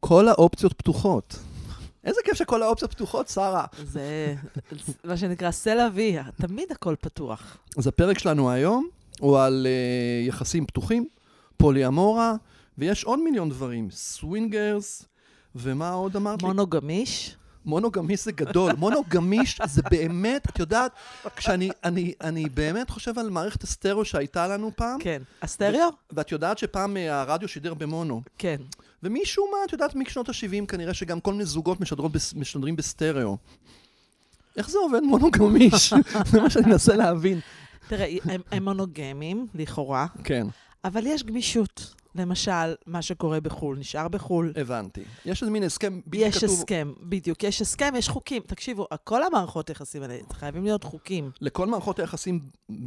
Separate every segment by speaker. Speaker 1: כל האופציות פתוחות. איזה כיף שכל האופציות פתוחות, שרה.
Speaker 2: זה מה שנקרא סלע וי, תמיד הכל פתוח.
Speaker 1: אז הפרק שלנו היום הוא על אה, יחסים פתוחים, פוליאמורה, ויש עוד מיליון דברים, סווינגרס, ומה עוד אמרת לי?
Speaker 2: מונוגמיש.
Speaker 1: מונוגמיש זה גדול. מונוגמיש זה באמת, את יודעת, כשאני אני, אני באמת חושב על מערכת הסטריאו שהייתה לנו פעם,
Speaker 2: כן. הסטריאו?
Speaker 1: ואת יודעת שפעם אה, הרדיו שידר במונו.
Speaker 2: כן.
Speaker 1: ומשום מה, את יודעת, משנות ה-70 כנראה שגם כל מיני זוגות משדרות בס- משדרים בסטריאו. איך זה עובד מונוגמיש? זה מה שאני מנסה להבין.
Speaker 2: תראה, הם, הם מונוגמים, לכאורה,
Speaker 1: כן,
Speaker 2: אבל יש גמישות. למשל, מה שקורה בחו"ל, נשאר בחו"ל.
Speaker 1: הבנתי. יש איזה מין הסכם בלתי
Speaker 2: יש
Speaker 1: אה, כתוב
Speaker 2: הסכם, בדיוק. יש הסכם, יש חוקים. תקשיבו, כל המערכות יחסים האלה, חייבים להיות חוקים.
Speaker 1: לכל מערכות היחסים,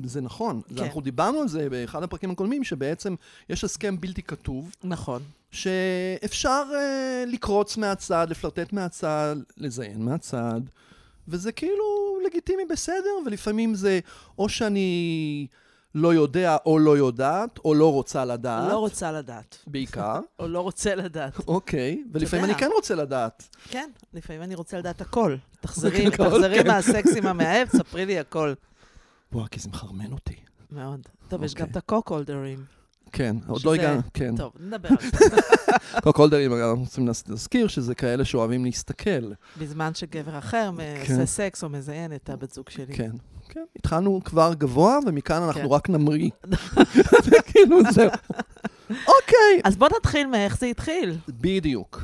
Speaker 1: זה נכון. זה-
Speaker 2: כן.
Speaker 1: אנחנו דיברנו על זה באחד הפרקים הקודמים, שבעצם יש הסכם בלתי כתוב,
Speaker 2: נכון.
Speaker 1: שאפשר אה, לקרוץ מהצד, לפלרטט מהצד, לזיין מהצד, וזה כאילו לגיטימי בסדר, ולפעמים זה או שאני לא יודע או לא יודעת, או לא רוצה לדעת,
Speaker 2: לא רוצה לדעת.
Speaker 1: בעיקר,
Speaker 2: או לא רוצה לדעת.
Speaker 1: אוקיי, ולפעמים
Speaker 2: יודע.
Speaker 1: אני כן רוצה לדעת.
Speaker 2: כן, לפעמים אני רוצה לדעת הכל. תחזרי,
Speaker 1: הכל,
Speaker 2: תחזרי
Speaker 1: כן.
Speaker 2: מהסקסים המאהב, ספרי לי הכל.
Speaker 1: וואי, כי זה מחרמן אותי.
Speaker 2: מאוד. טוב, יש גם
Speaker 1: אוקיי.
Speaker 2: את הקוקולדרים.
Speaker 1: כן, עוד
Speaker 2: שזה-
Speaker 1: לא הגענו, כן.
Speaker 2: טוב, נדבר על זה.
Speaker 1: קוק הולדרים, אנחנו רוצים להזכיר שזה כאלה שאוהבים להסתכל.
Speaker 2: בזמן שגבר אחר
Speaker 1: כן.
Speaker 2: עושה סקס או מזיין את הבת זוג שלי.
Speaker 1: כן. כן, התחלנו כבר גבוה, ומכאן
Speaker 2: כן.
Speaker 1: אנחנו רק נמריא. זה כאילו, זהו. אוקיי.
Speaker 2: אז בוא נתחיל מאיך זה התחיל.
Speaker 1: בדיוק.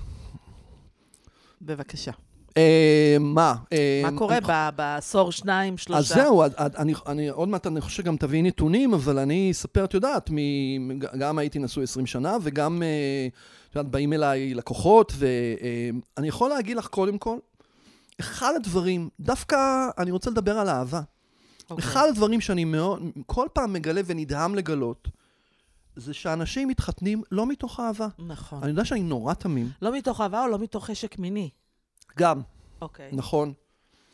Speaker 2: בבקשה.
Speaker 1: אה, מה? אה,
Speaker 2: מה קורה
Speaker 1: אני-
Speaker 2: ב- בעשור, שניים, שלושה?
Speaker 1: אז זהו, אז- אז אני- אני עוד מעט, אני חושב שגם תביאי נתונים, אבל אני אספר, את יודעת, מ- גם הייתי נשוי 20 שנה, וגם, אה, את יודעת, באים אליי לקוחות, ואני יכול להגיד לך קודם כל, אחד הדברים, דווקא אני רוצה לדבר על אהבה.
Speaker 2: אוקיי.
Speaker 1: אחד הדברים שאני מאוד, כל פעם מגלה ונדהם לגלות, זה שאנשים מתחתנים לא מתוך אהבה.
Speaker 2: נכון.
Speaker 1: אני יודע שאני נורא תמים.
Speaker 2: לא מתוך אהבה או לא מתוך חשק מיני?
Speaker 1: גם,
Speaker 2: אוקיי.
Speaker 1: נכון.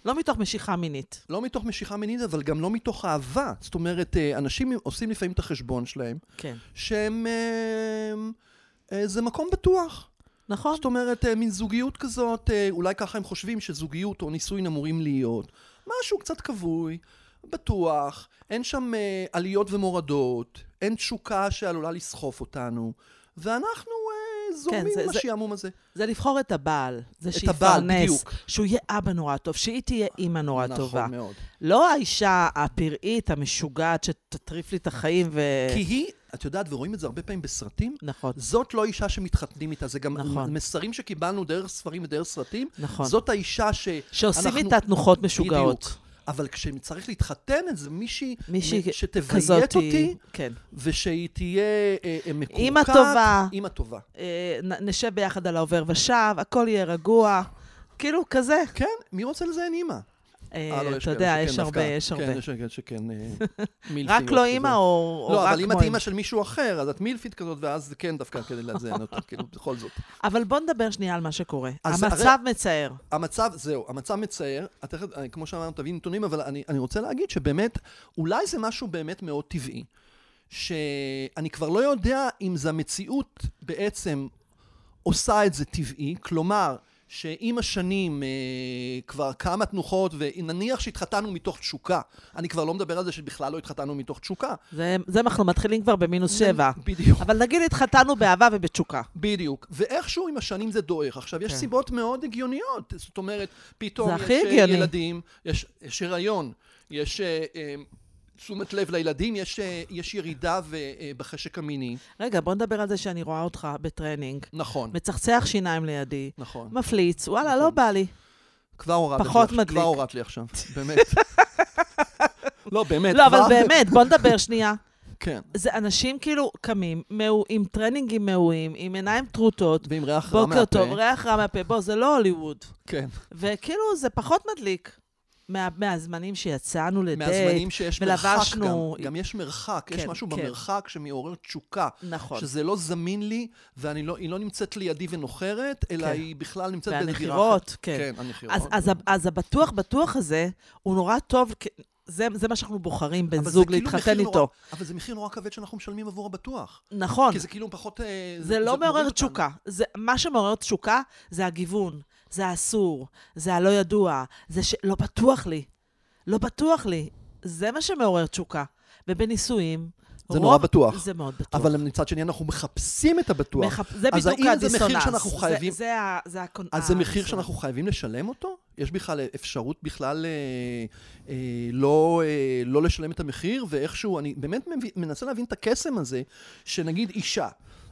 Speaker 2: לא מתוך משיכה מינית.
Speaker 1: לא מתוך משיכה מינית, אבל גם לא מתוך אהבה. זאת אומרת, אה, אנשים עושים לפעמים את החשבון שלהם,
Speaker 2: כן.
Speaker 1: שהם... אה, אה, זה מקום בטוח.
Speaker 2: נכון?
Speaker 1: זאת אומרת, אה, מין זוגיות כזאת, אה, אולי ככה הם חושבים שזוגיות או נישואין אמורים להיות. משהו קצת כבוי, בטוח, אין שם אה, עליות ומורדות, אין תשוקה שעלולה לסחוף אותנו, ואנחנו אה, זורמים
Speaker 2: כן, זה-
Speaker 1: עם
Speaker 2: זה-
Speaker 1: השעמום הזה.
Speaker 2: זה לבחור את הבעל. זה
Speaker 1: את הבעל,
Speaker 2: שיפרנס.
Speaker 1: בדיוק.
Speaker 2: שהוא יהיה אבא נורא טוב, שהיא תהיה אימא נורא אה, טובה.
Speaker 1: נכון מאוד.
Speaker 2: לא האישה הפראית, המשוגעת, שתטריף לי את החיים ו...
Speaker 1: כי היא, את יודעת, ורואים את זה הרבה פעמים בסרטים,
Speaker 2: נכון,
Speaker 1: זאת לא אישה שמתחתנים איתה, זה גם
Speaker 2: נכון.
Speaker 1: נכון. מסרים שקיבלנו דרך ספרים ודרך סרטים.
Speaker 2: נכון.
Speaker 1: זאת האישה שאנחנו...
Speaker 2: שעושים איתה תנוחות משוגעות.
Speaker 1: בדיוק. אבל כשצריך להתחתן, אז זה מישהי,
Speaker 2: מישהי
Speaker 1: מ-
Speaker 2: כזאת
Speaker 1: שתביית
Speaker 2: היא-
Speaker 1: אותי,
Speaker 2: כן.
Speaker 1: ושהיא תהיה אה, אה, מקורקעת.
Speaker 2: אימא טובה.
Speaker 1: אימא טובה.
Speaker 2: אה, נ- נשב ביחד על העובר ושב, הכל יהיה רגוע. כאילו, כזה.
Speaker 1: כן, מי רוצה לזיין אימא?
Speaker 2: אה,
Speaker 1: אה, לא,
Speaker 2: אתה
Speaker 1: כאלה
Speaker 2: יודע,
Speaker 1: שכן
Speaker 2: יש הרבה,
Speaker 1: דווקא.
Speaker 2: יש הרבה.
Speaker 1: כן, יש כאלה שכן אה, מילפיות.
Speaker 2: רק לא
Speaker 1: כזה.
Speaker 2: אימא או או
Speaker 1: לא,
Speaker 2: רק
Speaker 1: אבל אם
Speaker 2: כמו
Speaker 1: את
Speaker 2: אימא.
Speaker 1: אימא של מישהו אחר, אז את מילפית כזאת, ואז זה כן דווקא כדי לזיין אותה, כאילו, בכל זאת.
Speaker 2: אבל בוא נדבר שנייה על מה שקורה.
Speaker 1: אז הרי-
Speaker 2: המצב מצער.
Speaker 1: המצב, זהו, המצב מצער. את תכף, אה, כמו שאמרנו, תביא נתונים, אבל אני, אני רוצה להגיד שבאמת, אולי זה משהו באמת מאוד טבעי. שאני כבר לא יודע אם זה המציאות בעצם עושה את זה טבעי, כלומר, שעם השנים אה, כבר כמה תנוחות, ונניח שהתחתנו מתוך תשוקה, אני כבר לא מדבר על זה שבכלל לא התחתנו מתוך תשוקה.
Speaker 2: זה, זה אנחנו מתחילים כבר במינוס שבע.
Speaker 1: בדיוק.
Speaker 2: אבל נגיד התחתנו באהבה ובתשוקה.
Speaker 1: בדיוק, ואיכשהו עם השנים זה דועך. עכשיו, יש
Speaker 2: כן.
Speaker 1: סיבות מאוד הגיוניות, זאת אומרת, פתאום
Speaker 2: זה
Speaker 1: יש
Speaker 2: הכי
Speaker 1: אה,
Speaker 2: הגיוני.
Speaker 1: ילדים, יש, יש הריון, יש אה, אה, תשומת לב לילדים, יש, אה, יש ירידה ו, אה, בחשק המיני.
Speaker 2: רגע, בוא נדבר על זה שאני רואה אותך בטרנינג,
Speaker 1: נכון,
Speaker 2: מצחצח שיניים לידי,
Speaker 1: נכון.
Speaker 2: מפליץ, וואלה,
Speaker 1: נכון.
Speaker 2: לא בא לי.
Speaker 1: כבר הורדת לי
Speaker 2: פחות
Speaker 1: עכשיו,
Speaker 2: מדליק.
Speaker 1: כבר הורדת לי עכשיו, באמת. לא, באמת.
Speaker 2: לא, אבל
Speaker 1: כבר-
Speaker 2: באמת, בוא נדבר שנייה.
Speaker 1: כן,
Speaker 2: זה אנשים כאילו קמים, מאו- עם טרנינגים מעועים, עם עיניים טרוטות,
Speaker 1: ועם ריח רע מהפה.
Speaker 2: בוקר טוב, ריח רע מהפה, בוא, זה לא הוליווד.
Speaker 1: כן,
Speaker 2: וכאילו, זה פחות מדליק מה- מהזמנים שיצאנו לדייט.
Speaker 1: מהזמנים שיש מרחק
Speaker 2: אה, ולבשנו-
Speaker 1: גם. גם יש מרחק, יש
Speaker 2: כן,
Speaker 1: משהו
Speaker 2: כן.
Speaker 1: במרחק שמעורר תשוקה.
Speaker 2: נכון.
Speaker 1: שזה לא זמין לי, והיא לא, היא לא נמצאת לידי ונוחרת, אלא
Speaker 2: כן.
Speaker 1: היא בכלל נמצאת באיזה דירה אחרת.
Speaker 2: והנחירות, כן.
Speaker 1: כן, הנחירות.
Speaker 2: אז, אז, ה- אז הבטוח בטוח הזה, הוא נורא טוב, כ- זה, זה מה שאנחנו בוחרים, בן
Speaker 1: אבל זה
Speaker 2: זוג
Speaker 1: כאילו
Speaker 2: להתחתן
Speaker 1: מחיר
Speaker 2: איתו.
Speaker 1: נורא- אבל זה מחיר נורא כבד שאנחנו משלמים עבור הבטוח.
Speaker 2: נכון.
Speaker 1: כי זה כאילו פחות... אה,
Speaker 2: זה לא
Speaker 1: מוריד
Speaker 2: מעורר
Speaker 1: אותנו.
Speaker 2: תשוקה. זה, מה שמעורר תשוקה זה הגיוון, זה האסור, זה הלא ידוע, זה שלא בטוח לי. לא בטוח לי. זה מה שמעורר תשוקה. ובנישואים...
Speaker 1: זה
Speaker 2: רוב-
Speaker 1: נורא בטוח.
Speaker 2: זה מאוד בטוח.
Speaker 1: אבל מצד שני, אנחנו מחפשים את הבטוח.
Speaker 2: מחפ- זה
Speaker 1: אז
Speaker 2: בדיוק הדיסוננס.
Speaker 1: האם זה מחיר שאנחנו חייבים-
Speaker 2: זה, זה, ה- זה הקונ...
Speaker 1: אז זה מחיר
Speaker 2: הדיסוננס.
Speaker 1: שאנחנו חייבים לשלם אותו? יש בכלל אפשרות בכלל אה, אה, לא, אה, לא לשלם את המחיר, ואיכשהו, אני באמת מבין- מנסה להבין את הקסם הזה, שנגיד אישה,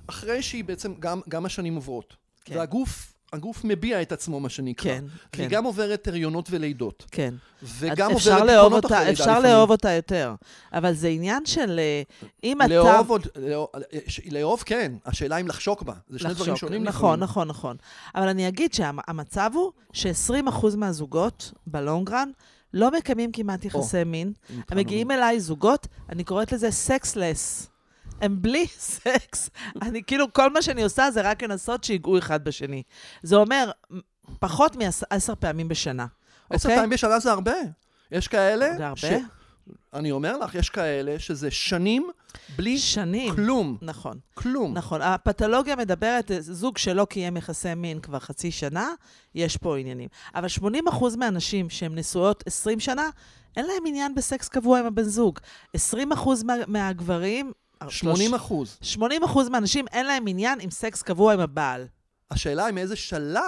Speaker 1: אחרי שהיא בעצם, גם, גם השנים עוברות,
Speaker 2: כן.
Speaker 1: והגוף... הגוף מביע את עצמו, מה שנקרא.
Speaker 2: כן,
Speaker 1: והיא
Speaker 2: כן.
Speaker 1: גם עוברת הריונות ולידות.
Speaker 2: כן.
Speaker 1: וגם
Speaker 2: אפשר
Speaker 1: עוברת
Speaker 2: לאהוב
Speaker 1: דיכאונות
Speaker 2: אותה-
Speaker 1: אחרי לידה
Speaker 2: אפשר
Speaker 1: לפעמים.
Speaker 2: לאהוב אותה יותר. אבל זה עניין של... אה, אם אתה...
Speaker 1: לאהוב עוד... לאהוב- ש- לאהוב, כן. השאלה אם לחשוק בה. זה שני דברים
Speaker 2: לחשוק.
Speaker 1: שונים.
Speaker 2: נכון,
Speaker 1: לפעמים.
Speaker 2: נכון, נכון. אבל אני אגיד שהמצב הוא ש-20% מהזוגות בלונגרן לא מקיימים כמעט יחסי מין. הם
Speaker 1: התחלנו
Speaker 2: מגיעים אליי זוגות, אני קוראת לזה סקסלס. הם בלי סקס. אני כאילו, כל מה שאני עושה זה רק לנסות שיגעו אחד בשני. זה אומר מ- פחות מעשר פעמים בשנה.
Speaker 1: עשר
Speaker 2: אוקיי?
Speaker 1: פעמים בשנה זה הרבה. יש כאלה...
Speaker 2: זה הרבה.
Speaker 1: אני אומר לך, יש כאלה שזה שנים בלי
Speaker 2: שנים.
Speaker 1: כלום.
Speaker 2: נכון.
Speaker 1: כלום.
Speaker 2: נכון. הפתולוגיה מדברת, אה, זוג שלא קיים יחסי מין כבר חצי שנה, יש פה עניינים. אבל 80% מהנשים שהן נשואות 20 שנה, אין להם עניין בסקס קבוע עם הבן זוג. 20% מה, מהגברים...
Speaker 1: 80 אחוז.
Speaker 2: 80 אחוז מהאנשים אין להם עניין עם סקס קבוע עם הבעל.
Speaker 1: השאלה אם מאיזה שלב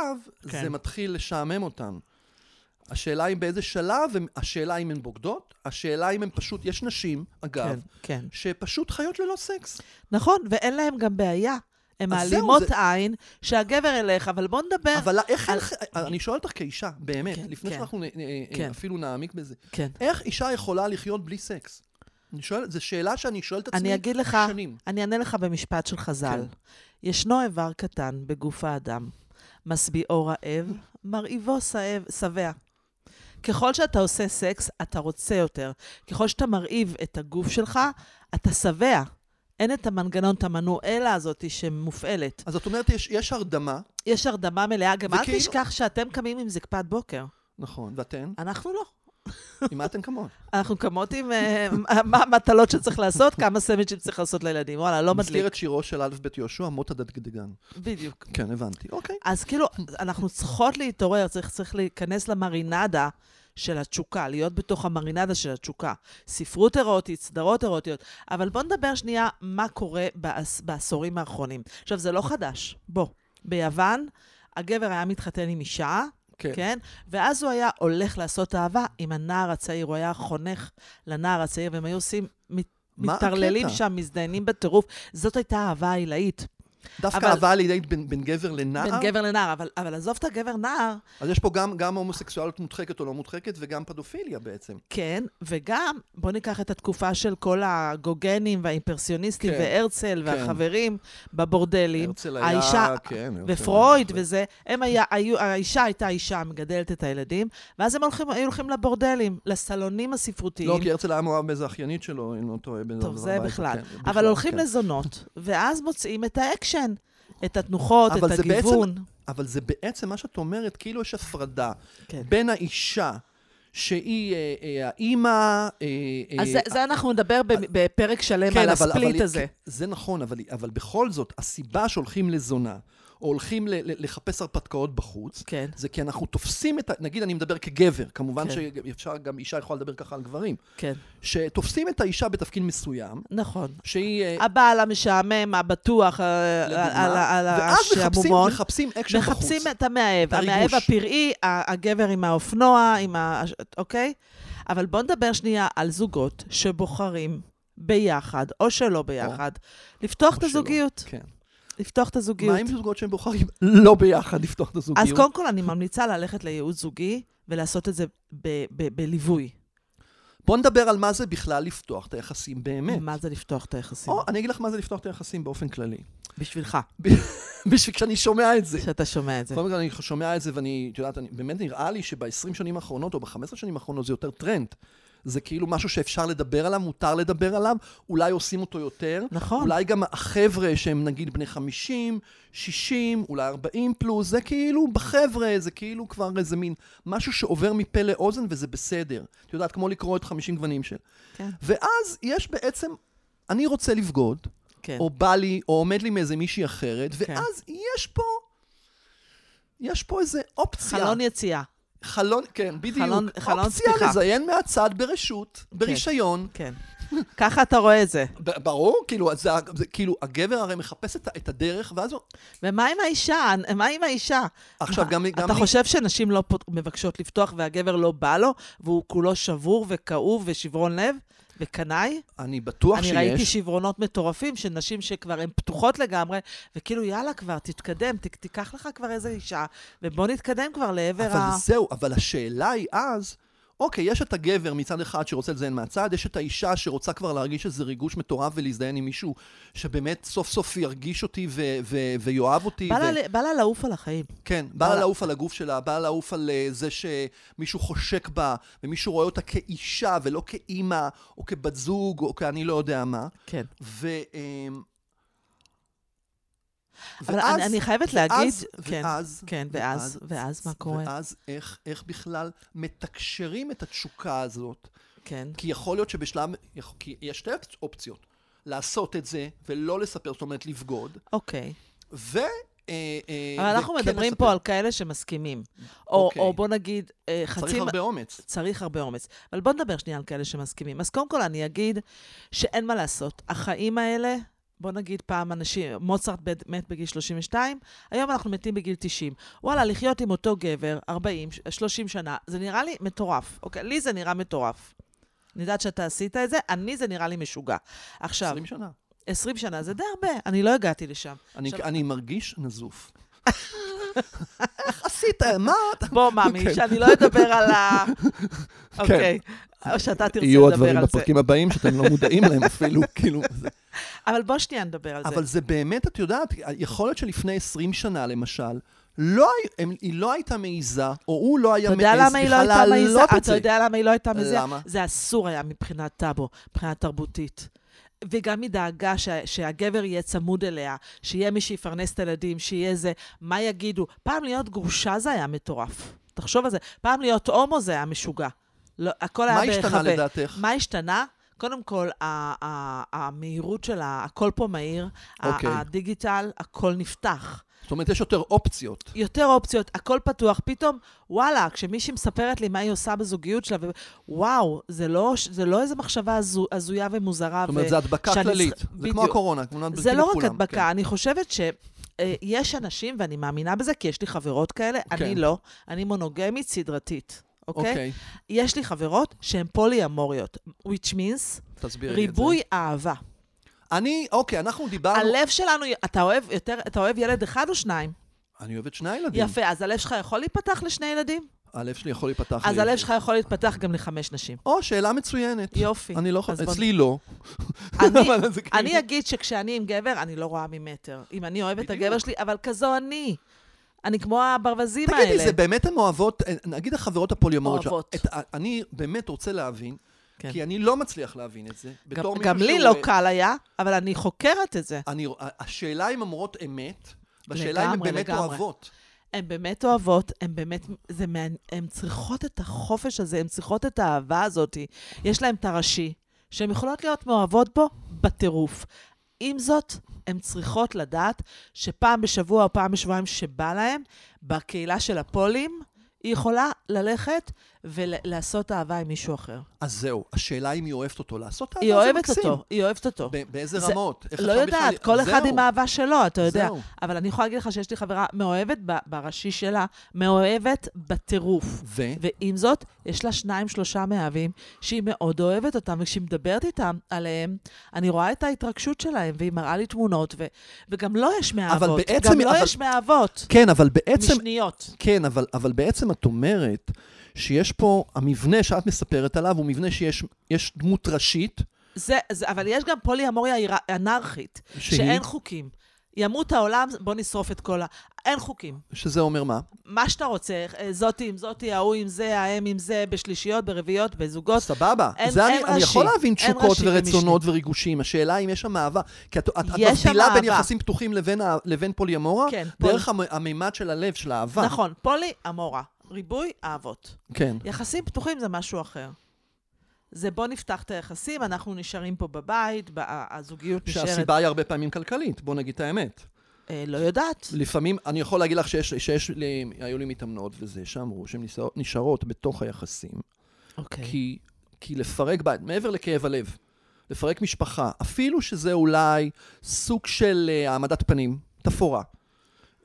Speaker 2: כן.
Speaker 1: זה מתחיל לשעמם אותם. השאלה אם באיזה שלב, הם- השאלה אם הן בוגדות, השאלה אם הן פשוט, יש נשים, אגב,
Speaker 2: כן, כן.
Speaker 1: שפשוט חיות ללא סקס.
Speaker 2: נכון, ואין להם גם בעיה. הם
Speaker 1: אז זהו,
Speaker 2: מעלימות
Speaker 1: זה-
Speaker 2: עין שהגבר ילך, אבל בוא נדבר...
Speaker 1: אבל לא- איך,
Speaker 2: אה, על-
Speaker 1: איך, אני שואל אותך כאישה, באמת,
Speaker 2: כן,
Speaker 1: לפני
Speaker 2: כן.
Speaker 1: שאנחנו נ- נ-
Speaker 2: כן.
Speaker 1: אפילו נעמיק בזה,
Speaker 2: כן.
Speaker 1: איך אישה יכולה לחיות בלי סקס? אני שואל, זו שאלה שאני שואל את עצמי
Speaker 2: אני אגיד לך,
Speaker 1: שנים.
Speaker 2: אני אענה לך במשפט של חז"ל.
Speaker 1: כן.
Speaker 2: ישנו איבר קטן בגוף האדם, משביעו רעב, מרעיבו סאב- שבע. ככל שאתה עושה סקס, אתה רוצה יותר. ככל שאתה מרעיב את הגוף שלך, אתה שבע. אין את המנגנון, את המנואלה הזאת שמופעלת.
Speaker 1: אז את אומרת, יש, יש הרדמה,
Speaker 2: יש הרדמה מלאה, גם אל
Speaker 1: וכאילו-
Speaker 2: תשכח שאתם קמים עם זקפת בוקר.
Speaker 1: נכון, ואתן?
Speaker 2: אנחנו לא.
Speaker 1: עם מה אתן כמוהן?
Speaker 2: אנחנו קמות עם אה, מה המטלות שצריך לעשות, כמה סמיצ'ים צריך לעשות לילדים. וואלה, לא
Speaker 1: מזכיר
Speaker 2: מדליק.
Speaker 1: את שירו של א' בית יהושע, מות הדגדגן.
Speaker 2: בדיוק.
Speaker 1: כן, הבנתי. אוקיי.
Speaker 2: אז כאילו, אנחנו צריכות להתעורר, צריך, צריך להיכנס למרינדה של התשוקה, להיות בתוך המרינדה של התשוקה. ספרות אירוטית, סדרות אירוטיות. אבל בואו נדבר שנייה מה קורה בעש, בעשורים האחרונים. עכשיו, זה לא חדש. בוא, ביוון, הגבר היה מתחתן עם אישה,
Speaker 1: כן.
Speaker 2: כן? ואז הוא היה הולך לעשות אהבה עם הנער הצעיר, הוא היה חונך לנער הצעיר, והם היו עושים, מת-
Speaker 1: מה
Speaker 2: מתערללים
Speaker 1: הקטע?
Speaker 2: שם, מזדיינים בטירוף. זאת הייתה האהבה העילאית.
Speaker 1: דווקא
Speaker 2: אבל-
Speaker 1: אהבה לידי בין, בין גבר לנער,
Speaker 2: בין גבר לנער, אבל, אבל עזוב את הגבר נער,
Speaker 1: אז יש פה גם, גם הומוסקסואליות מודחקת או לא מודחקת, וגם פדופיליה בעצם.
Speaker 2: כן, וגם, בוא ניקח את התקופה של כל הגוגנים והאימפרסיוניסטים
Speaker 1: כן,
Speaker 2: והרצל
Speaker 1: כן.
Speaker 2: והחברים בבורדלים.
Speaker 1: הרצל היה-
Speaker 2: האישה,
Speaker 1: כן, הרצל
Speaker 2: ופרויד
Speaker 1: היה-
Speaker 2: וזה, הם היה, היו, האישה הייתה אישה מגדלת את הילדים, ואז הם הולכים, היו הולכים לבורדלים, לסלונים הספרותיים.
Speaker 1: לא, כי הרצל היה מאוהב באיזה אחיינית שלו, אם לא טועה. באיזה
Speaker 2: טוב, זה
Speaker 1: ארבע עשרה,
Speaker 2: בכלל.
Speaker 1: כן,
Speaker 2: אבל
Speaker 1: בכלל,
Speaker 2: הולכים
Speaker 1: כן.
Speaker 2: לזונות, ואז מוצאים את האקשן, את התנוחות,
Speaker 1: אבל
Speaker 2: את
Speaker 1: זה בעצם-
Speaker 2: הגיוון.
Speaker 1: אבל זה בעצם מה שאת אומרת, כאילו יש הפרדה
Speaker 2: כן.
Speaker 1: בין האישה, שהיא אה, אה, האימא... אה,
Speaker 2: אז
Speaker 1: אה,
Speaker 2: זה, זה אנחנו נדבר ב- בפרק שלם על הספליט הזה.
Speaker 1: כן, זה נכון, אבל, אבל בכל זאת, הסיבה שהולכים לזונה, או הולכים ל, ל, לחפש הרפתקאות בחוץ,
Speaker 2: כן.
Speaker 1: זה כי אנחנו תופסים את ה... נגיד, אני מדבר כגבר, כמובן
Speaker 2: כן.
Speaker 1: כן. שאפשר, גם אישה יכולה לדבר ככה על גברים,
Speaker 2: כן,
Speaker 1: שתופסים את האישה בתפקיד מסוים,
Speaker 2: נכון.
Speaker 1: שהיא... אה,
Speaker 2: הבעל המשעמם, הבטוח, אה,
Speaker 1: לדוגמה,
Speaker 2: על ה- על
Speaker 1: ואז מחפשים,
Speaker 2: השעמומון.
Speaker 1: מחפשים אקשן בחוץ.
Speaker 2: מחפשים את המאהב,
Speaker 1: את הריגוש.
Speaker 2: המאהב הפראי, ה- הגבר עם האופנוע, עם ה... אוקיי? אבל בואו נדבר שנייה על זוגות שבוחרים ביחד, או שלא ביחד, לפתוח את
Speaker 1: או שלא.
Speaker 2: הזוגיות.
Speaker 1: כן.
Speaker 2: לפתוח את
Speaker 1: מה
Speaker 2: הזוגיות.
Speaker 1: עם זוגות שהם בוחרים לא ביחד לפתוח את הזוגיות?
Speaker 2: אז קודם כל, אני ממליצה ללכת לייעוץ זוגי ולעשות את זה ב- ב- בליווי.
Speaker 1: בוא נדבר על מה זה בכלל לפתוח את היחסים באמת.
Speaker 2: מה זה לפתוח את היחסים?
Speaker 1: או, אני אגיד לך מה זה לפתוח את היחסים באופן כללי.
Speaker 2: בשבילך,
Speaker 1: בשביל כשאני שומע את זה.
Speaker 2: שאתה שומע את זה.
Speaker 1: בכל מקרה, אני שומע את זה, ואני, את יודעת, אני, באמת נראה לי שב-20 שנים האחרונות, או ב-15 שנים האחרונות, זה יותר טרנד. זה כאילו משהו שאפשר לדבר עליו, מותר לדבר עליו, אולי עושים אותו יותר.
Speaker 2: נכון.
Speaker 1: אולי גם החבר'ה שהם נגיד בני 50, 60, אולי 40 פלוס, זה כאילו בחבר'ה, זה כאילו כבר איזה מין משהו שעובר מפה לאוזן וזה בסדר. את יודעת, כמו לקרוא את 50 גוונים של.
Speaker 2: כן.
Speaker 1: ואז יש בעצם, אני רוצה לבגוד,
Speaker 2: כן.
Speaker 1: או בא לי, או עומד לי מאיזה מישהי אחרת,
Speaker 2: כן.
Speaker 1: ואז יש פה, יש פה איזה אופציה.
Speaker 2: חלון יציאה.
Speaker 1: חלון, כן, בדיוק.
Speaker 2: חלון- חלון
Speaker 1: אופציה
Speaker 2: פתיחה.
Speaker 1: לזיין מהצד ברשות, ברישיון.
Speaker 2: כן. ככה אתה רואה את זה.
Speaker 1: ב- ברור, כאילו, אז זה, זה, כאילו, הגבר הרי מחפש את, ה- את הדרך, ואז הוא...
Speaker 2: ומה עם האישה? מה עם האישה?
Speaker 1: עכשיו,
Speaker 2: מה,
Speaker 1: גם... גם
Speaker 2: אתה
Speaker 1: לי-
Speaker 2: חושב שנשים לא פות- מבקשות לפתוח והגבר לא בא לו, והוא כולו שבור וכאוב ושברון לב וקנאי?
Speaker 1: אני בטוח
Speaker 2: אני
Speaker 1: שיש.
Speaker 2: ראיתי שברונות מטורפים של נשים שכבר הן פתוחות לגמרי, וכאילו, יאללה כבר, תתקדם, ת, תיקח לך כבר איזה אישה, ובוא נתקדם כבר לעבר ה...
Speaker 1: אבל זהו, אבל השאלה היא אז, אוקיי, יש את הגבר מצד אחד שרוצה לזיין מהצד, יש את האישה שרוצה כבר להרגיש איזה ריגוש מטורף ולהזדיין עם מישהו שבאמת סוף סוף ירגיש אותי ו- ו- ויאהב אותי.
Speaker 2: בא,
Speaker 1: ו-
Speaker 2: לה, ל- בא לה לעוף על החיים.
Speaker 1: כן,
Speaker 2: בא
Speaker 1: בא לה
Speaker 2: לה-
Speaker 1: לעוף על הגוף שלה, בא לה לעוף על אה, זה שמישהו חושק בה, ומישהו רואה אותה כאישה ולא כאימא, או כבת זוג, או כאני לא יודע מה.
Speaker 2: כן.
Speaker 1: ו... אמ,
Speaker 2: אבל אני, אני חייבת להגיד...
Speaker 1: ואז,
Speaker 2: כן,
Speaker 1: ואז,
Speaker 2: כן, ואז, ואז מה קורה?
Speaker 1: ואז איך, איך בכלל מתקשרים את התשוקה הזאת?
Speaker 2: כן.
Speaker 1: כי יכול להיות שבשלב, יכ- כי יש שתי אופצ- אופציות, לעשות את זה ולא לספר, זאת אומרת לבגוד,
Speaker 2: אוקיי.
Speaker 1: ו... אה, אה,
Speaker 2: אבל אנחנו
Speaker 1: וכן
Speaker 2: מדברים
Speaker 1: לספר.
Speaker 2: פה על כאלה שמסכימים. או,
Speaker 1: אוקיי.
Speaker 2: או בוא נגיד, אה, חצי...
Speaker 1: צריך הרבה אומץ.
Speaker 2: צריך הרבה אומץ. אבל בוא נדבר שנייה על כאלה שמסכימים. אז קודם כל אני אגיד שאין מה לעשות. החיים האלה, בוא נגיד פעם אנשים, מוצרט בד- מת בגיל 32, היום אנחנו מתים בגיל 90. וואלה, לחיות עם אותו גבר 40, 30 שנה, זה נראה לי מטורף. אוקיי, לי זה נראה מטורף. אני יודעת שאתה עשית את זה, אני זה נראה לי משוגע. עכשיו,
Speaker 1: 20 שנה.
Speaker 2: 20 שנה זה די הרבה, אני לא הגעתי לשם.
Speaker 1: אני,
Speaker 2: עכשיו-
Speaker 1: אני מרגיש נזוף. איך עשית? מה? אתה-
Speaker 2: בוא, מאמי,
Speaker 1: כן.
Speaker 2: שאני לא אדבר על ה... אוקיי, או שאתה תרצה
Speaker 1: יהיו
Speaker 2: לדבר
Speaker 1: הדברים
Speaker 2: על זה.
Speaker 1: בפרקים הבאים שאתם לא מודעים להם אפילו, כאילו. זה-
Speaker 2: אבל בוא שנייה נדבר על זה.
Speaker 1: אבל זה באמת, את יודעת, יכול להיות שלפני 20 שנה, למשל, לא, הי- הם, היא לא הייתה מעיזה, או הוא לא היה
Speaker 2: אתה
Speaker 1: מעז
Speaker 2: יודע למה היא לא
Speaker 1: בכלל
Speaker 2: הייתה מעיזה?
Speaker 1: להעלות את
Speaker 2: אתה
Speaker 1: זה.
Speaker 2: יודע למה היא לא הייתה מעיזה?
Speaker 1: למה?
Speaker 2: זה אסור היה מבחינת טאבו, מבחינה תרבותית. וגם מדאגה שה, שהגבר יהיה צמוד אליה, שיהיה מי שיפרנס את הילדים, שיהיה זה, מה יגידו? פעם להיות גרושה זה היה מטורף. תחשוב על זה. פעם להיות הומו זה היה משוגע. לא, הכל
Speaker 1: מה
Speaker 2: היה בהיחווה.
Speaker 1: השתנה לדעתך?
Speaker 2: מה השתנה? קודם כל, ה- ה- המהירות שלה, הכל פה מהיר, ה-
Speaker 1: אוקיי.
Speaker 2: הדיגיטל, הכל נפתח.
Speaker 1: זאת אומרת, יש יותר אופציות.
Speaker 2: יותר אופציות, הכל פתוח. פתאום, וואלה, כשמישהי מספרת לי מה היא עושה בזוגיות שלה, ו- וואו, זה לא, זה לא איזה מחשבה הזו- הזויה ומוזרה.
Speaker 1: זאת אומרת, זו הדבקה
Speaker 2: שאני
Speaker 1: כללית.
Speaker 2: צריכה-
Speaker 1: זה כמו
Speaker 2: בדיוק.
Speaker 1: הקורונה, תמונת
Speaker 2: זה
Speaker 1: בריקים
Speaker 2: לא רק
Speaker 1: לכולם,
Speaker 2: הדבקה, כן. אני חושבת ש... אה, יש אנשים, ואני מאמינה בזה, כי יש לי חברות כאלה, כן. אני
Speaker 1: כן.
Speaker 2: לא, אני מונוגמית סדרתית,
Speaker 1: כן.
Speaker 2: אוקיי?
Speaker 1: אוקיי,
Speaker 2: יש לי חברות שהן פולי-אמוריות, which means
Speaker 1: תסבירי לי את זה.
Speaker 2: ריבוי אהבה.
Speaker 1: אני, אוקיי, אנחנו דיברנו...
Speaker 2: הלב שלנו, אתה אוהב יותר, אתה אוהב ילד אחד או שניים?
Speaker 1: אני אוהבת שני ילדים.
Speaker 2: יפה, אז הלב שלך יכול להיפתח לשני ילדים?
Speaker 1: הלב שלי יכול להיפתח.
Speaker 2: אז
Speaker 1: לי.
Speaker 2: הלב שלך יכול להתפתח גם לחמש נשים.
Speaker 1: או, שאלה מצוינת.
Speaker 2: יופי.
Speaker 1: אני לא
Speaker 2: אז
Speaker 1: חושב,
Speaker 2: בוא-
Speaker 1: אצלי לא.
Speaker 2: אני-
Speaker 1: אבל זה כאילו-
Speaker 2: אני אגיד שכשאני עם גבר, אני לא רואה ממטר. אם אני אוהבת את
Speaker 1: בדיוק.
Speaker 2: הגבר שלי, אבל כזו אני. אני כמו הברווזים האלה.
Speaker 1: תגידי, זה באמת הן אוהבות, אה, נגיד החברות הפוליומוריות שלך.
Speaker 2: אוהבות.
Speaker 1: את ה- אני באמת רוצה להבין,
Speaker 2: כן.
Speaker 1: כי אני לא מצליח להבין את זה.
Speaker 2: גם-
Speaker 1: בתור מישהו
Speaker 2: גם לי
Speaker 1: שהוא,
Speaker 2: לא
Speaker 1: אה,
Speaker 2: קל היה, אבל אני חוקרת את זה.
Speaker 1: אני, השאלה אם אומרות אמת, והשאלה אם הן
Speaker 2: לגמרי,
Speaker 1: באמת
Speaker 2: לגמרי.
Speaker 1: אוהבות.
Speaker 2: הן באמת אוהבות, הן באמת, זה מעניין, הן צריכות את החופש הזה, הן צריכות את האהבה הזאת. יש להן את הראשי, שהן יכולות להיות מאוהבות בו בטירוף. עם זאת, הן צריכות לדעת שפעם בשבוע או פעם בשבועיים שבא להן, בקהילה של הפולים, היא יכולה ללכת ולעשות אהבה עם מישהו אחר.
Speaker 1: אז זהו, השאלה אם היא אוהבת אותו לעשות,
Speaker 2: היא
Speaker 1: אבל זה
Speaker 2: אוהבת
Speaker 1: מקסים.
Speaker 2: אותו, היא אוהבת אותו.
Speaker 1: ב- באיזה
Speaker 2: זה-
Speaker 1: רמות? איך
Speaker 2: לא
Speaker 1: אפשר
Speaker 2: יודעת,
Speaker 1: בכלל-
Speaker 2: כל אחד
Speaker 1: זהו.
Speaker 2: עם האהבה שלו, אתה יודע.
Speaker 1: זהו.
Speaker 2: אבל אני יכולה להגיד לך שיש לי חברה מאוהבת ב- בראשי שלה, מאוהבת בטירוף.
Speaker 1: ו?
Speaker 2: ועם זאת, יש לה שניים, שלושה מאהבים שהיא מאוד אוהבת אותם, וכשהיא מדברת איתם עליהם, אני רואה את ההתרגשות שלהם, והיא מראה לי תמונות, ו... וגם לו יש מאהבות.
Speaker 1: בעצם-
Speaker 2: גם לו
Speaker 1: אבל-
Speaker 2: יש מאהבות.
Speaker 1: כן, אבל בעצם...
Speaker 2: משניות.
Speaker 1: כן, אבל, אבל בעצם את אומרת שיש פה, המבנה שאת מספרת עליו הוא מבנה שיש יש דמות ראשית,
Speaker 2: זה, זה, אבל יש גם פולי אמוריה אנרכית,
Speaker 1: שהיא?
Speaker 2: שאין חוקים. ימות העולם, בוא נשרוף את כל ה... אין חוקים.
Speaker 1: שזה אומר מה?
Speaker 2: מה שאתה רוצה, אה, זאתי עם זאתי, ההוא עם זה, האם עם זה, בשלישיות, ברביעיות, בזוגות.
Speaker 1: סבבה.
Speaker 2: אין-
Speaker 1: זה
Speaker 2: אין
Speaker 1: אני, אני
Speaker 2: ראשי.
Speaker 1: יכול להבין
Speaker 2: אין
Speaker 1: תשוקות
Speaker 2: ראשי
Speaker 1: ורצונות וריגושים. השאלה אם יש שם אהבה. כי את, את, את
Speaker 2: יש שם
Speaker 1: מבדילה בין
Speaker 2: אהבה.
Speaker 1: יחסים פתוחים לבין, ה- לבין פוליאמורה,
Speaker 2: כן,
Speaker 1: דרך המ, המימד של הלב, של האהבה.
Speaker 2: נכון, פולי, אמורה. ריבוי, אהבות.
Speaker 1: כן.
Speaker 2: יחסים פתוחים זה משהו אחר. זה בוא נפתח את היחסים, אנחנו נשארים פה בבית, ב- הזוגיות נשארת...
Speaker 1: שהסיבה היא הרבה פעמים כלכלית, בוא נגיד את האמת.
Speaker 2: אה, לא יודעת.
Speaker 1: לפעמים, אני יכול להגיד לך שיש, שיש לי, היו לי מתאמנות וזה, שאמרו שהן נשאר- נשארות בתוך היחסים,
Speaker 2: אוקיי.
Speaker 1: כי, כי לפרק בית, מעבר לכאב הלב, לפרק משפחה, אפילו שזה אולי סוג של אה, העמדת פנים, תפאורה,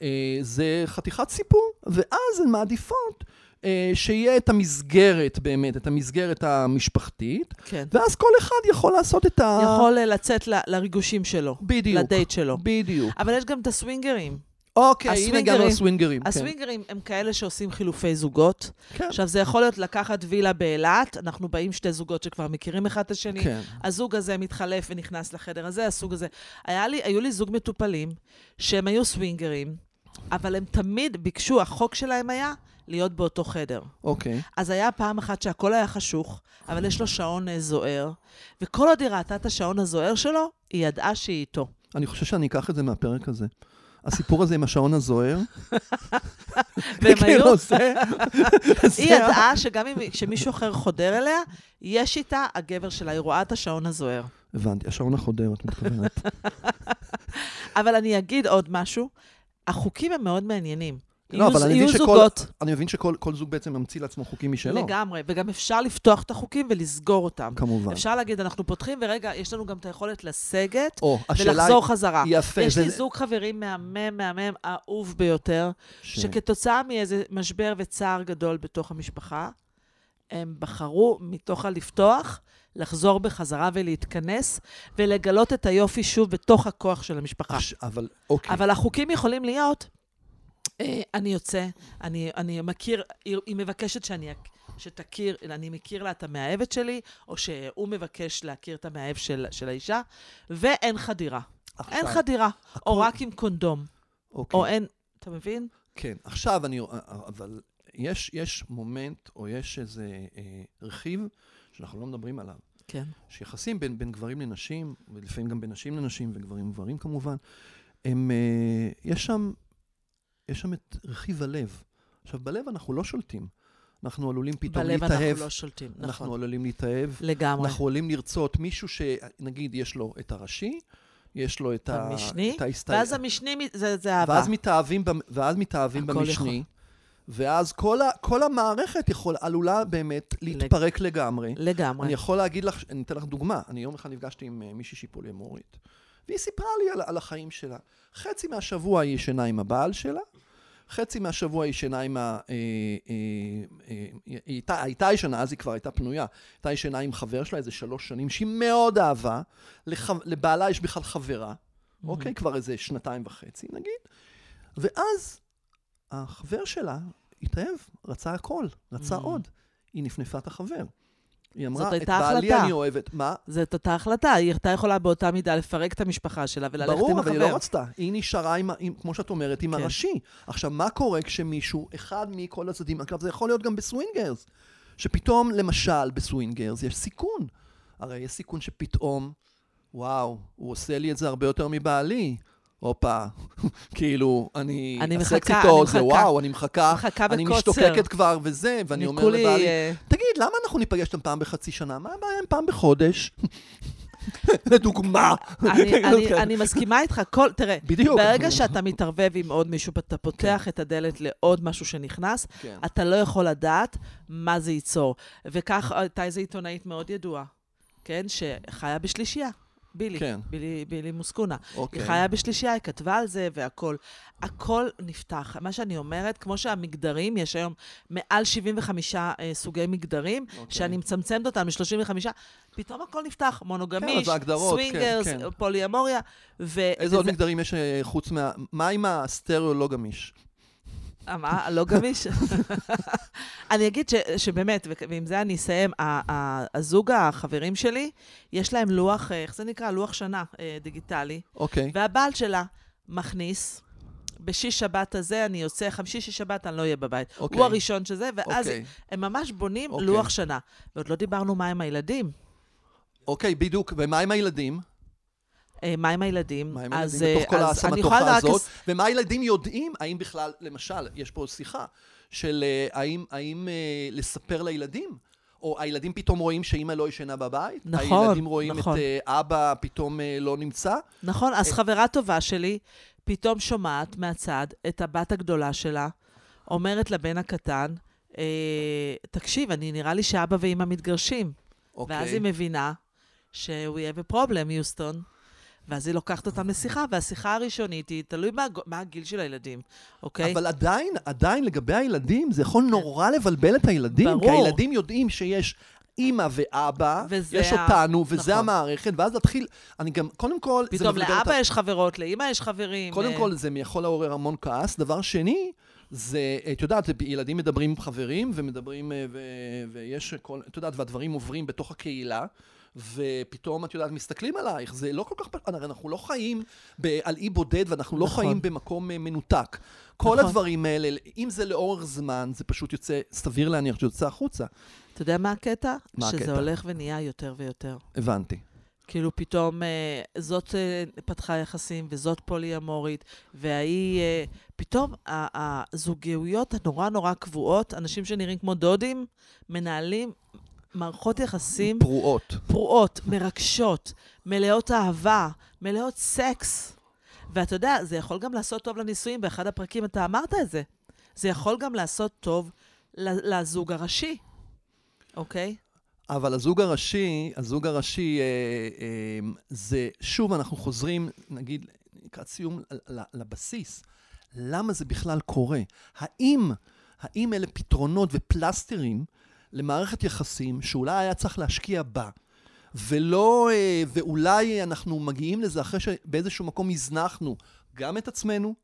Speaker 1: אה, זה חתיכת סיפור, ואז הן מעדיפות אה, שיהיה את המסגרת באמת, את המסגרת המשפחתית,
Speaker 2: כן.
Speaker 1: ואז כל אחד יכול לעשות את ה...
Speaker 2: יכול אה, לצאת ל- לריגושים שלו.
Speaker 1: בדיוק.
Speaker 2: לדייט שלו.
Speaker 1: בדיוק.
Speaker 2: אבל יש גם את הסווינגרים.
Speaker 1: אוקיי, הנה
Speaker 2: אה, הסווינגרים.
Speaker 1: הגענו לסווינגרים. כן.
Speaker 2: הסווינגרים הם כאלה שעושים חילופי זוגות.
Speaker 1: כן.
Speaker 2: עכשיו, זה יכול להיות לקחת וילה באילת, אנחנו באים שתי זוגות שכבר מכירים אחד את השני,
Speaker 1: כן.
Speaker 2: הזוג הזה מתחלף ונכנס לחדר הזה, הסוג הזה. היה לי, היו לי זוג מטופלים שהם היו סווינגרים, אבל הם תמיד ביקשו, החוק שלהם היה להיות באותו חדר.
Speaker 1: אוקיי.
Speaker 2: אז היה פעם אחת שהכל היה חשוך, אבל יש לו שעון אה, זוהר, וכל עוד היא ראתה את השעון הזוהר שלו, היא ידעה שהיא איתו.
Speaker 1: אני חושב שאני אקח את זה מהפרק הזה. הסיפור הזה עם השעון הזוהר.
Speaker 2: והם
Speaker 1: כן,
Speaker 2: היו-
Speaker 1: לא, זה- זה
Speaker 2: היא ידעה שגם אם כשמישהו אחר חודר אליה, יש איתה הגבר שלה, היא רואה את השעון הזוהר.
Speaker 1: הבנתי, השעון החודר, את מתכוונת.
Speaker 2: אבל אני אגיד עוד משהו, החוקים הם מאוד מעניינים.
Speaker 1: לא, אבל אני
Speaker 2: יהיו
Speaker 1: מבין שכל-
Speaker 2: זוגות,
Speaker 1: אני מבין שכל כל זוג בעצם ממציא לעצמו חוקים משלו.
Speaker 2: לגמרי, וגם אפשר לפתוח את החוקים ולסגור אותם.
Speaker 1: כמובן.
Speaker 2: אפשר להגיד, אנחנו פותחים, ורגע, יש לנו גם את היכולת לסגת
Speaker 1: או, השאלה היא-
Speaker 2: ולחזור חזרה.
Speaker 1: יפה,
Speaker 2: יש לי
Speaker 1: זה-
Speaker 2: זוג חברים מהמם, מהמם, אהוב ביותר,
Speaker 1: ש-
Speaker 2: שכתוצאה מאיזה משבר וצער גדול בתוך המשפחה, הם בחרו מתוך הלפתוח, לחזור בחזרה ולהתכנס, ולגלות את היופי שוב בתוך הכוח של המשפחה.
Speaker 1: אש- אבל, אוקיי.
Speaker 2: אבל החוקים יכולים להיות, אה, אני יוצא, אני, אני מכיר, היא, היא מבקשת שאני, אק- שתכיר, אני מכיר לה את המאהבת שלי, או שהוא מבקש להכיר את המאהב של, של האישה, ואין חדירה.
Speaker 1: עכשיו-
Speaker 2: אין חדירה, או רק עם קונדום,
Speaker 1: אוקיי.
Speaker 2: או אין, אתה מבין?
Speaker 1: כן, עכשיו אני... אה, אבל יש- יש מומנט, או יש איזה אה, רכיב שאנחנו לא מדברים עליו.
Speaker 2: כן.
Speaker 1: שיחסים בין, בין גברים לנשים, ולפעמים גם בין נשים לנשים, וגברים וגברים כמובן, הם, אה, יש שם, יש שם את רכיב הלב. עכשיו, בלב אנחנו לא שולטים. אנחנו עלולים פתאום
Speaker 2: בלב
Speaker 1: להתאהב.
Speaker 2: אנחנו לא שולטים,
Speaker 1: אנחנו
Speaker 2: נכון.
Speaker 1: עלולים להתאהב.
Speaker 2: לגמרי.
Speaker 1: אנחנו עלולים לרצות מישהו שנגיד יש לו את הראשי, יש לו את, ה-
Speaker 2: המשני,
Speaker 1: את ההסתייג.
Speaker 2: ואז המשני, מ- זה זה אהבה.
Speaker 1: לא ואז מתאהבים, במ- ואז מתאהבים
Speaker 2: הכל
Speaker 1: במשני.
Speaker 2: יכול.
Speaker 1: ואז כל, ה, כל המערכת יכול, עלולה באמת להתפרק לגמרי.
Speaker 2: לגמרי.
Speaker 1: אני יכול להגיד לך, אני אתן לך דוגמה. אני יום אחד נפגשתי עם אה, מישהי שהיא פוליאמורית, והיא סיפרה לי על, על החיים שלה. חצי מהשבוע היא ישנה עם הבעל שלה, חצי מהשבוע היא ישנה עם ה... אה, אה, אה, היא הייתה, הייתה ישנה, אז היא כבר הייתה פנויה. הייתה ישנה עם חבר שלה איזה שלוש שנים, שהיא מאוד אהבה. לח, לבעלה יש בכלל חברה, אוקיי? כבר איזה שנתיים וחצי, נגיד. ואז החבר שלה התאהב, רצה הכל, רצה עוד. היא נפנפה את החבר. היא אמרה,
Speaker 2: זאת
Speaker 1: את
Speaker 2: הייתה
Speaker 1: בעלי
Speaker 2: החלטה."
Speaker 1: אני אוהבת. מה?
Speaker 2: זאת אותה החלטה, היא הייתה יכולה באותה מידה לפרק את המשפחה שלה וללכת עם החבר.
Speaker 1: ברור, אבל היא לא רצתה. היא נשארה, עם, ה- עם, כמו שאת אומרת, עם
Speaker 2: כן.
Speaker 1: הראשי. עכשיו, מה קורה כשמישהו, אחד מכל הצדדים, אגב, זה יכול להיות גם בסווינגרס, שפתאום, למשל, בסווינגרס יש סיכון. הרי יש סיכון שפתאום, וואו, הוא עושה לי את זה הרבה יותר מבעלי. הופה, כאילו, אני...
Speaker 2: אני
Speaker 1: הסקס
Speaker 2: מחכה,
Speaker 1: איתו,
Speaker 2: אני
Speaker 1: זה
Speaker 2: מחכה.
Speaker 1: וואו, אני מחכה,
Speaker 2: מחכה
Speaker 1: אני
Speaker 2: בקוצר.
Speaker 1: משתוקקת כבר וזה, ואני אומר
Speaker 2: מכולי,
Speaker 1: לבעלי,
Speaker 2: אה,
Speaker 1: תגיד, למה אנחנו ניפגש אתם פעם בחצי שנה? מה הבעיה אם פעם בחודש? לדוגמה. לא
Speaker 2: אני, אני, אני מסכימה איתך, כל, תראה,
Speaker 1: בדיוק.
Speaker 2: ברגע שאתה מתערבב עם עוד מישהו ואתה פותח את הדלת לעוד משהו שנכנס,
Speaker 1: כן.
Speaker 2: אתה לא יכול לדעת מה זה ייצור. וכך הייתה איזו עיתונאית מאוד ידועה, כן? שחיה בשלישייה, בילי,
Speaker 1: כן.
Speaker 2: בילי, בילי מוסקונה.
Speaker 1: אוקיי.
Speaker 2: היא חיה בשלישייה, היא כתבה על זה והכול. הכל נפתח. מה שאני אומרת, כמו שהמגדרים, יש היום מעל 75 אה, סוגי מגדרים, okay.
Speaker 1: אוקיי.
Speaker 2: שאני מצמצמת אותם ל-35, פתאום הכל נפתח. מונוגמיש,
Speaker 1: אז ההגדרות, כן,
Speaker 2: סווינגרס,
Speaker 1: כן.
Speaker 2: פוליאמוריה. ו...
Speaker 1: איזה עוד
Speaker 2: ו-
Speaker 1: מגדרים יש אה, חוץ מה... מה עם הסטריאו לא גמיש?
Speaker 2: אה, מה? לא גמיש? אני אגיד ש, שבאמת, וכ- ועם זה אני אסיים, ה- ה- הזוג החברים שלי, יש להם לוח, אה, איך זה נקרא? לוח שנה אה, דיגיטלי.
Speaker 1: אוקיי.
Speaker 2: והבעל שלה מכניס בשיש שבת הזה אני יוצא, חמישי-שיש שבת אני לא אהיה בבית.
Speaker 1: אוקיי.
Speaker 2: הוא הראשון שזה, ואז
Speaker 1: אוקיי.
Speaker 2: הם ממש בונים
Speaker 1: אוקיי.
Speaker 2: לוח שנה. ועוד לא דיברנו מה עם הילדים.
Speaker 1: אוקיי, בדיוק. ומה עם הילדים?
Speaker 2: אה, מה עם הילדים?
Speaker 1: מה עם
Speaker 2: אז,
Speaker 1: הילדים בתוך
Speaker 2: אה,
Speaker 1: כל
Speaker 2: אז אני יכולה
Speaker 1: הסמטוחה
Speaker 2: רק
Speaker 1: הזאת? ומה הילדים יודעים? האם בכלל, למשל, יש פה שיחה של אה, האם- האם אה, לספר לילדים? או הילדים פתאום רואים שאימא לא ישנה בבית?
Speaker 2: נכון,
Speaker 1: הילדים רואים
Speaker 2: נכון.
Speaker 1: את אה, אבא פתאום אה, לא נמצא?
Speaker 2: נכון, אז
Speaker 1: אה.
Speaker 2: חברה טובה שלי פתאום שומעת מהצד את הבת הגדולה שלה, אומרת לבן הקטן, אה, תקשיב, אני נראה לי שאבא ואימא מתגרשים.
Speaker 1: אוקיי.
Speaker 2: ואז היא מבינה שהוא יהיה בפרובלם, יוסטון. ואז היא לוקחת אותם לשיחה, והשיחה הראשונית היא, תלוי מה, הג- מה הגיל של הילדים, אוקיי?
Speaker 1: אבל עדיין, עדיין לגבי הילדים, זה יכול נורא לבלבל את הילדים.
Speaker 2: ברור.
Speaker 1: כי הילדים יודעים שיש אימא ואבא,
Speaker 2: וזה
Speaker 1: יש
Speaker 2: ה-
Speaker 1: אותנו, וזה
Speaker 2: נכון.
Speaker 1: המערכת, ואז להתחיל, אני גם, קודם כל, זה
Speaker 2: פתאום
Speaker 1: מבלבל אותה.
Speaker 2: לאבא יש חברות, לאימא יש חברים.
Speaker 1: קודם
Speaker 2: אה,
Speaker 1: כל, זה יכול לעורר המון כעס. דבר שני, זה, את יודעת, ילדים מדברים עם חברים, ומדברים, אה, ו, ויש כל, את יודעת, והדברים עוברים בתוך הקהילה. ופתאום, את יודעת, מסתכלים עלייך, זה לא כל כך, פ- הרי אנחנו לא חיים ב, על אי בודד, ואנחנו לא
Speaker 2: נכון.
Speaker 1: חיים במקום אה, מנותק. כל
Speaker 2: נכון.
Speaker 1: הדברים האלה, אם זה לאורך זמן, זה פשוט יוצא, סביר להניח שזה יוצא החוצה.
Speaker 2: אתה יודע מה הקטע?
Speaker 1: מה
Speaker 2: שזה
Speaker 1: הקטע?
Speaker 2: הולך ונהיה יותר ויותר.
Speaker 1: הבנתי.
Speaker 2: כאילו פתאום אה, זאת אה, פתחה יחסים וזאת פולי אמורית, וההיא, אה, פתאום ה- הזוגיות הנורא נורא קבועות, אנשים שנראים כמו דודים, מנהלים מערכות יחסים
Speaker 1: פרועות.
Speaker 2: פרועות, מרגשות, מלאות אהבה, מלאות סקס. ואתה יודע, זה יכול גם לעשות טוב לנישואים, באחד הפרקים אתה אמרת את זה. זה יכול גם לעשות טוב ל- לזוג הראשי, אוקיי?
Speaker 1: אבל הזוג הראשי, הזוג הראשי אה, אה, זה, שוב, אנחנו חוזרים, נגיד, לקראת סיום, ל- ל- לבסיס. למה זה בכלל קורה? האם, האם אלה פתרונות ופלסטרים למערכת יחסים שאולי היה צריך להשקיע בה, ולא, אה, ואולי אנחנו מגיעים לזה אחרי שבאיזשהו מקום הזנחנו גם את עצמנו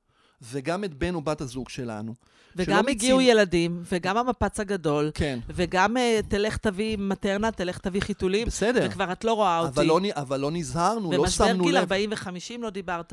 Speaker 1: וגם את בן או בת הזוג שלנו.
Speaker 2: וגם
Speaker 1: שלא
Speaker 2: הגיעו
Speaker 1: מיצינו-
Speaker 2: ילדים, וגם המפץ הגדול,
Speaker 1: כן.
Speaker 2: וגם אה, תלך תביא מטרנה, תלך תביא חיתולים,
Speaker 1: בסדר.
Speaker 2: וכבר את לא רואה אותי.
Speaker 1: אבל לא, נ- אבל לא נזהרנו, לא
Speaker 2: במשבר
Speaker 1: שמנו
Speaker 2: גיל
Speaker 1: לב.
Speaker 2: 40 ו-50 לא דיברת.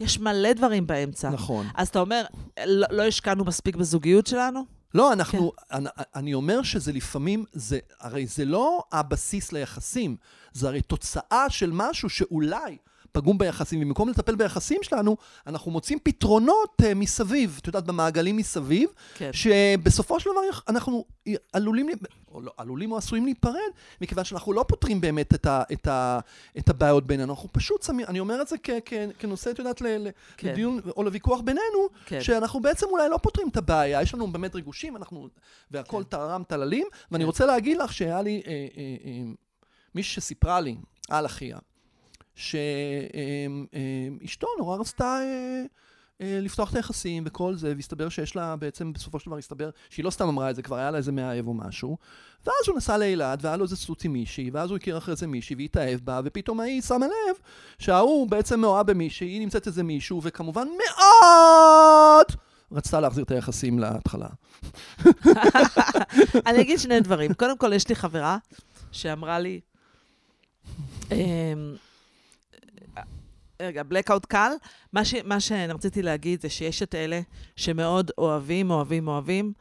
Speaker 2: יש מלא דברים באמצע.
Speaker 1: נכון.
Speaker 2: אז אתה אומר, לא, לא השקענו מספיק בזוגיות שלנו?
Speaker 1: לא, אנחנו, כן. אני, אני אומר שזה לפעמים, זה, הרי זה לא הבסיס ליחסים, זה הרי תוצאה של משהו שאולי פגום ביחסים, ובמקום לטפל ביחסים שלנו, אנחנו מוצאים פתרונות uh, מסביב, את יודעת, במעגלים מסביב,
Speaker 2: כן.
Speaker 1: שבסופו של דבר יח- אנחנו עלולים, להיפ- או לא, עלולים או עשויים להיפרד, מכיוון שאנחנו לא פותרים באמת את, ה, את, ה, את הבעיות בינינו, אנחנו פשוט שמים, אני אומר את זה כ, כ, כנושא, את יודעת, ל, ל,
Speaker 2: כן.
Speaker 1: כן. לדיון או לוויכוח בינינו,
Speaker 2: כן.
Speaker 1: כן. שאנחנו בעצם אולי לא פותרים את הבעיה, יש לנו באמת ריגושים, אנחנו, והכל טרם טללים, ואני רוצה להגיד לך שהיה לי, אה, אה, אה, מישהי שסיפרה לי על אחיה, שאשתו נורא רצתה אה, אה, לפתוח את היחסים וכל זה, והסתבר שיש לה בעצם, בסופו של דבר הסתבר שהיא לא סתם אמרה את זה, כבר היה לה איזה מאהב או משהו, ואז הוא נסע לאילת, והיה לו איזה סוץ עם מישהי, ואז הוא הכיר אחרי זה מישהי והתאהב בה, ופתאום ההיא שמה לב שההוא בעצם מאוהב במישהי, היא נמצאת איזה מישהו, וכמובן מאוד רצתה להחזיר את היחסים להתחלה.
Speaker 2: אני אגיד שני דברים. קודם כל, יש לי חברה שאמרה לי, אמ, רגע, blackout קל, מה, ש, מה שרציתי להגיד זה שיש את אלה שמאוד אוהבים, אוהבים, אוהבים.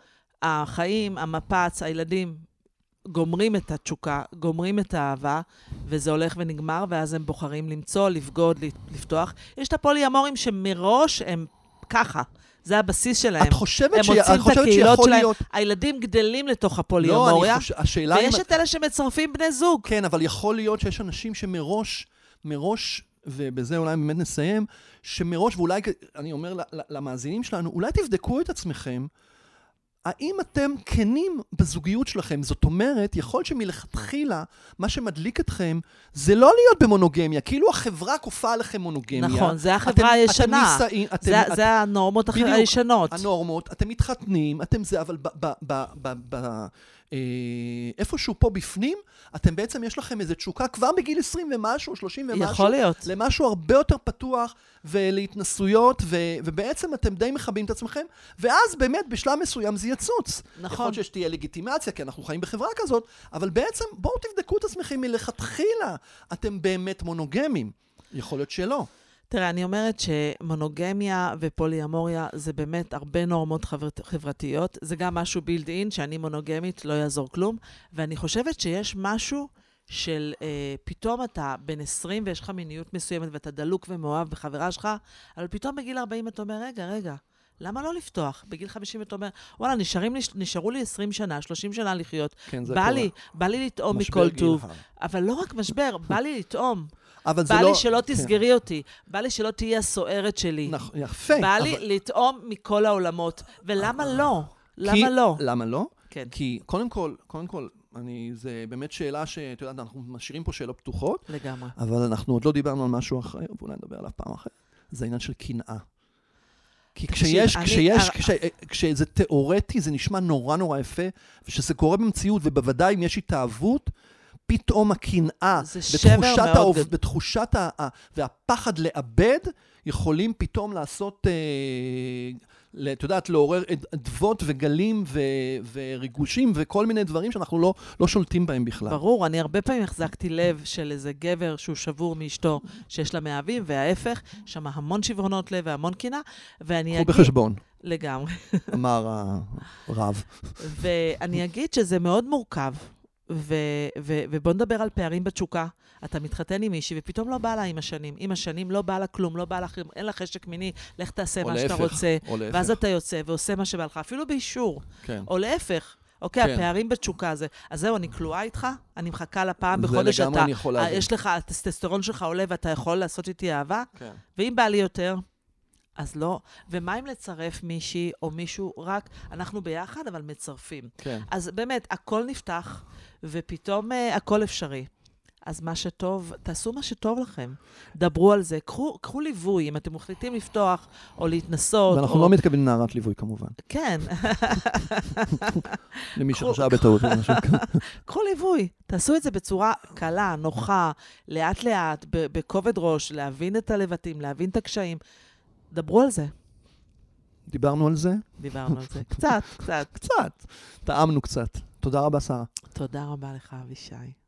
Speaker 2: החיים, המפץ, הילדים גומרים את התשוקה, גומרים את האהבה, וזה הולך ונגמר, ואז הם בוחרים למצוא, לבגוד, ל- לפתוח. יש את הפולי אמורים שמראש הם ככה, זה הבסיס שלהם.
Speaker 1: את חושבת
Speaker 2: הם
Speaker 1: ש-
Speaker 2: מוצאים
Speaker 1: את
Speaker 2: את
Speaker 1: חושבת
Speaker 2: הקהילות
Speaker 1: שיכול
Speaker 2: שלהם,
Speaker 1: להיות...
Speaker 2: הילדים גדלים לתוך
Speaker 1: לא,
Speaker 2: הפוליומוריה,
Speaker 1: אני חושב... השאלה אם...
Speaker 2: ויש את אלה שמצרפים בני זוג.
Speaker 1: כן, אבל יכול להיות שיש אנשים שמראש, מראש, ובזה אולי באמת נסיים, שמראש, ואולי, אני אומר ל- ל- למאזינים שלנו, אולי תבדקו את עצמכם, האם אתם כנים בזוגיות שלכם? זאת אומרת, יכול שמלכתחילה, מה שמדליק אתכם, זה לא להיות במונוגמיה, כאילו החברה כופה עליכם מונוגמיה.
Speaker 2: נכון, זה החברה הישנה.
Speaker 1: אתם נישאים, אתם,
Speaker 2: זה-
Speaker 1: אתם,
Speaker 2: זה הנורמות הכי-
Speaker 1: בדיוק.
Speaker 2: הישנות.
Speaker 1: הנורמות, אתם מתחתנים, אתם זה, אבל ב, ב, ב, ב, ב, אה, איפשהו פה בפנים, אתם בעצם, יש לכם איזו תשוקה כבר בגיל 20 ומשהו, 30 ומשהו.
Speaker 2: יכול להיות.
Speaker 1: למשהו הרבה יותר פתוח ולהתנסויות, ו, ובעצם אתם די מכבים את עצמכם, ואז באמת בשלב מסוים זה יצוץ.
Speaker 2: נכון.
Speaker 1: יכול להיות שתהיה לגיטימציה, כי אנחנו חיים בחברה כזאת, אבל בעצם בואו תבדקו את עצמכם מלכתחילה, אתם באמת מונוגמים. יכול להיות שלא.
Speaker 2: תראה, אני אומרת שמונוגמיה ופוליאמוריה זה באמת הרבה נורמות חברת- חברתיות. זה גם משהו בילד אין, שאני מונוגמית, לא יעזור כלום. ואני חושבת שיש משהו של אה, פתאום אתה בן 20 ויש לך מיניות מסוימת ואתה דלוק ומאוהב בחברה שלך, אבל פתאום בגיל 40 אתה אומר, רגע, רגע, למה לא לפתוח? בגיל 50 אתה אומר, וואלה, נשארים לי, נשארו לי 20 שנה, 30 שנה לחיות.
Speaker 1: כן, זה
Speaker 2: בא
Speaker 1: קורה.
Speaker 2: לי, בא לי לטעום
Speaker 1: משבר
Speaker 2: מכל
Speaker 1: גיל
Speaker 2: טוב.
Speaker 1: הר.
Speaker 2: אבל לא רק משבר, בא לי לטעום.
Speaker 1: אבל זה
Speaker 2: בא
Speaker 1: לא...
Speaker 2: לי שלא
Speaker 1: כן.
Speaker 2: תסגרי אותי, בא לי שלא תהיי הסוערת שלי.
Speaker 1: נכון, יפה.
Speaker 2: בא
Speaker 1: אבל-
Speaker 2: לי לטעום מכל העולמות, ולמה לא?
Speaker 1: כי-
Speaker 2: למה לא?
Speaker 1: למה לא?
Speaker 2: כן.
Speaker 1: כי קודם כל, קודם כל, אני, זה באמת שאלה שאת יודעת, אנחנו משאירים פה שאלות פתוחות,
Speaker 2: לגמרי.
Speaker 1: אבל אנחנו עוד לא דיברנו על משהו אחר, ואולי נדבר עליו פעם אחרת. זה העניין של קנאה. כי
Speaker 2: תקשיב,
Speaker 1: כשיש,
Speaker 2: אני- אה,
Speaker 1: כשיש,
Speaker 2: הר-
Speaker 1: כש- כשזה תיאורטי, זה נשמע נורא נורא יפה, וכשזה קורה במציאות, ובוודאי אם יש התאהבות, פתאום הקנאה,
Speaker 2: זה שבר
Speaker 1: בתחושת
Speaker 2: מאוד
Speaker 1: האוב-
Speaker 2: גדול.
Speaker 1: בתחושת ה... ה- והפחד לאבד, יכולים פתאום לעשות, אה, ל- את יודעת, לעורר אד- אדוות וגלים ו, וריגושים וכל מיני דברים שאנחנו לא, לא שולטים בהם בכלל.
Speaker 2: ברור, אני הרבה פעמים החזקתי לב של איזה גבר שהוא שבור מאשתו שיש לה מאהבים, וההפך, יש שם המון שברונות לב והמון קנאה, ואני
Speaker 1: קחו
Speaker 2: אגיד...
Speaker 1: בחשבון,
Speaker 2: לגמרי.
Speaker 1: אמר הרב.
Speaker 2: ואני אגיד שזה מאוד מורכב. ו- ו- ובוא נדבר על פערים בתשוקה. אתה מתחתן עם מישהי, ופתאום לא בא לה עם השנים. עם השנים לא בא לה כלום, לא בא לך, אין לך חשק מיני, לך תעשה
Speaker 1: או
Speaker 2: מה שאתה
Speaker 1: להפך,
Speaker 2: רוצה.
Speaker 1: או להפך.
Speaker 2: ואז אתה יוצא ועושה מה שבא לך, אפילו באישור.
Speaker 1: כן.
Speaker 2: או להפך. אוקיי,
Speaker 1: כן.
Speaker 2: הפערים בתשוקה הזה. אז זהו, אני כלואה איתך, אני מחכה לפעם
Speaker 1: זה
Speaker 2: בחודש,
Speaker 1: לגמרי
Speaker 2: אתה,
Speaker 1: אני יכול
Speaker 2: אה,
Speaker 1: להבין.
Speaker 2: יש לך, הטסטסטרון שלך עולה ואתה יכול לעשות איתי אהבה,
Speaker 1: כן.
Speaker 2: ואם בא לי יותר, אז לא. ומה אם לצרף מישהי או מישהו רק, אנחנו ביחד, אבל מצרפים.
Speaker 1: כן.
Speaker 2: אז באמת, הכל נפתח, ופתאום uh, הכל אפשרי. אז מה שטוב, תעשו מה שטוב לכם. דברו על זה. קחו, קחו ליווי, אם אתם מחליטים לפתוח או להתנסות.
Speaker 1: ואנחנו
Speaker 2: או...
Speaker 1: לא מתכוונים לנערת ליווי כמובן,
Speaker 2: כן,
Speaker 1: למי
Speaker 2: קחו-
Speaker 1: שחשב בטעות. או משהו כזה.
Speaker 2: קחו ליווי. תעשו את זה בצורה קלה, נוחה, לאט-לאט, ב- בכובד ראש, להבין את הלבטים, להבין את הקשיים. דברו על זה.
Speaker 1: דיברנו על זה?
Speaker 2: דיברנו על זה. קצת, קצת.
Speaker 1: קצת. טעמנו קצת. תודה רבה, שרה.
Speaker 2: תודה רבה לך, אבישי.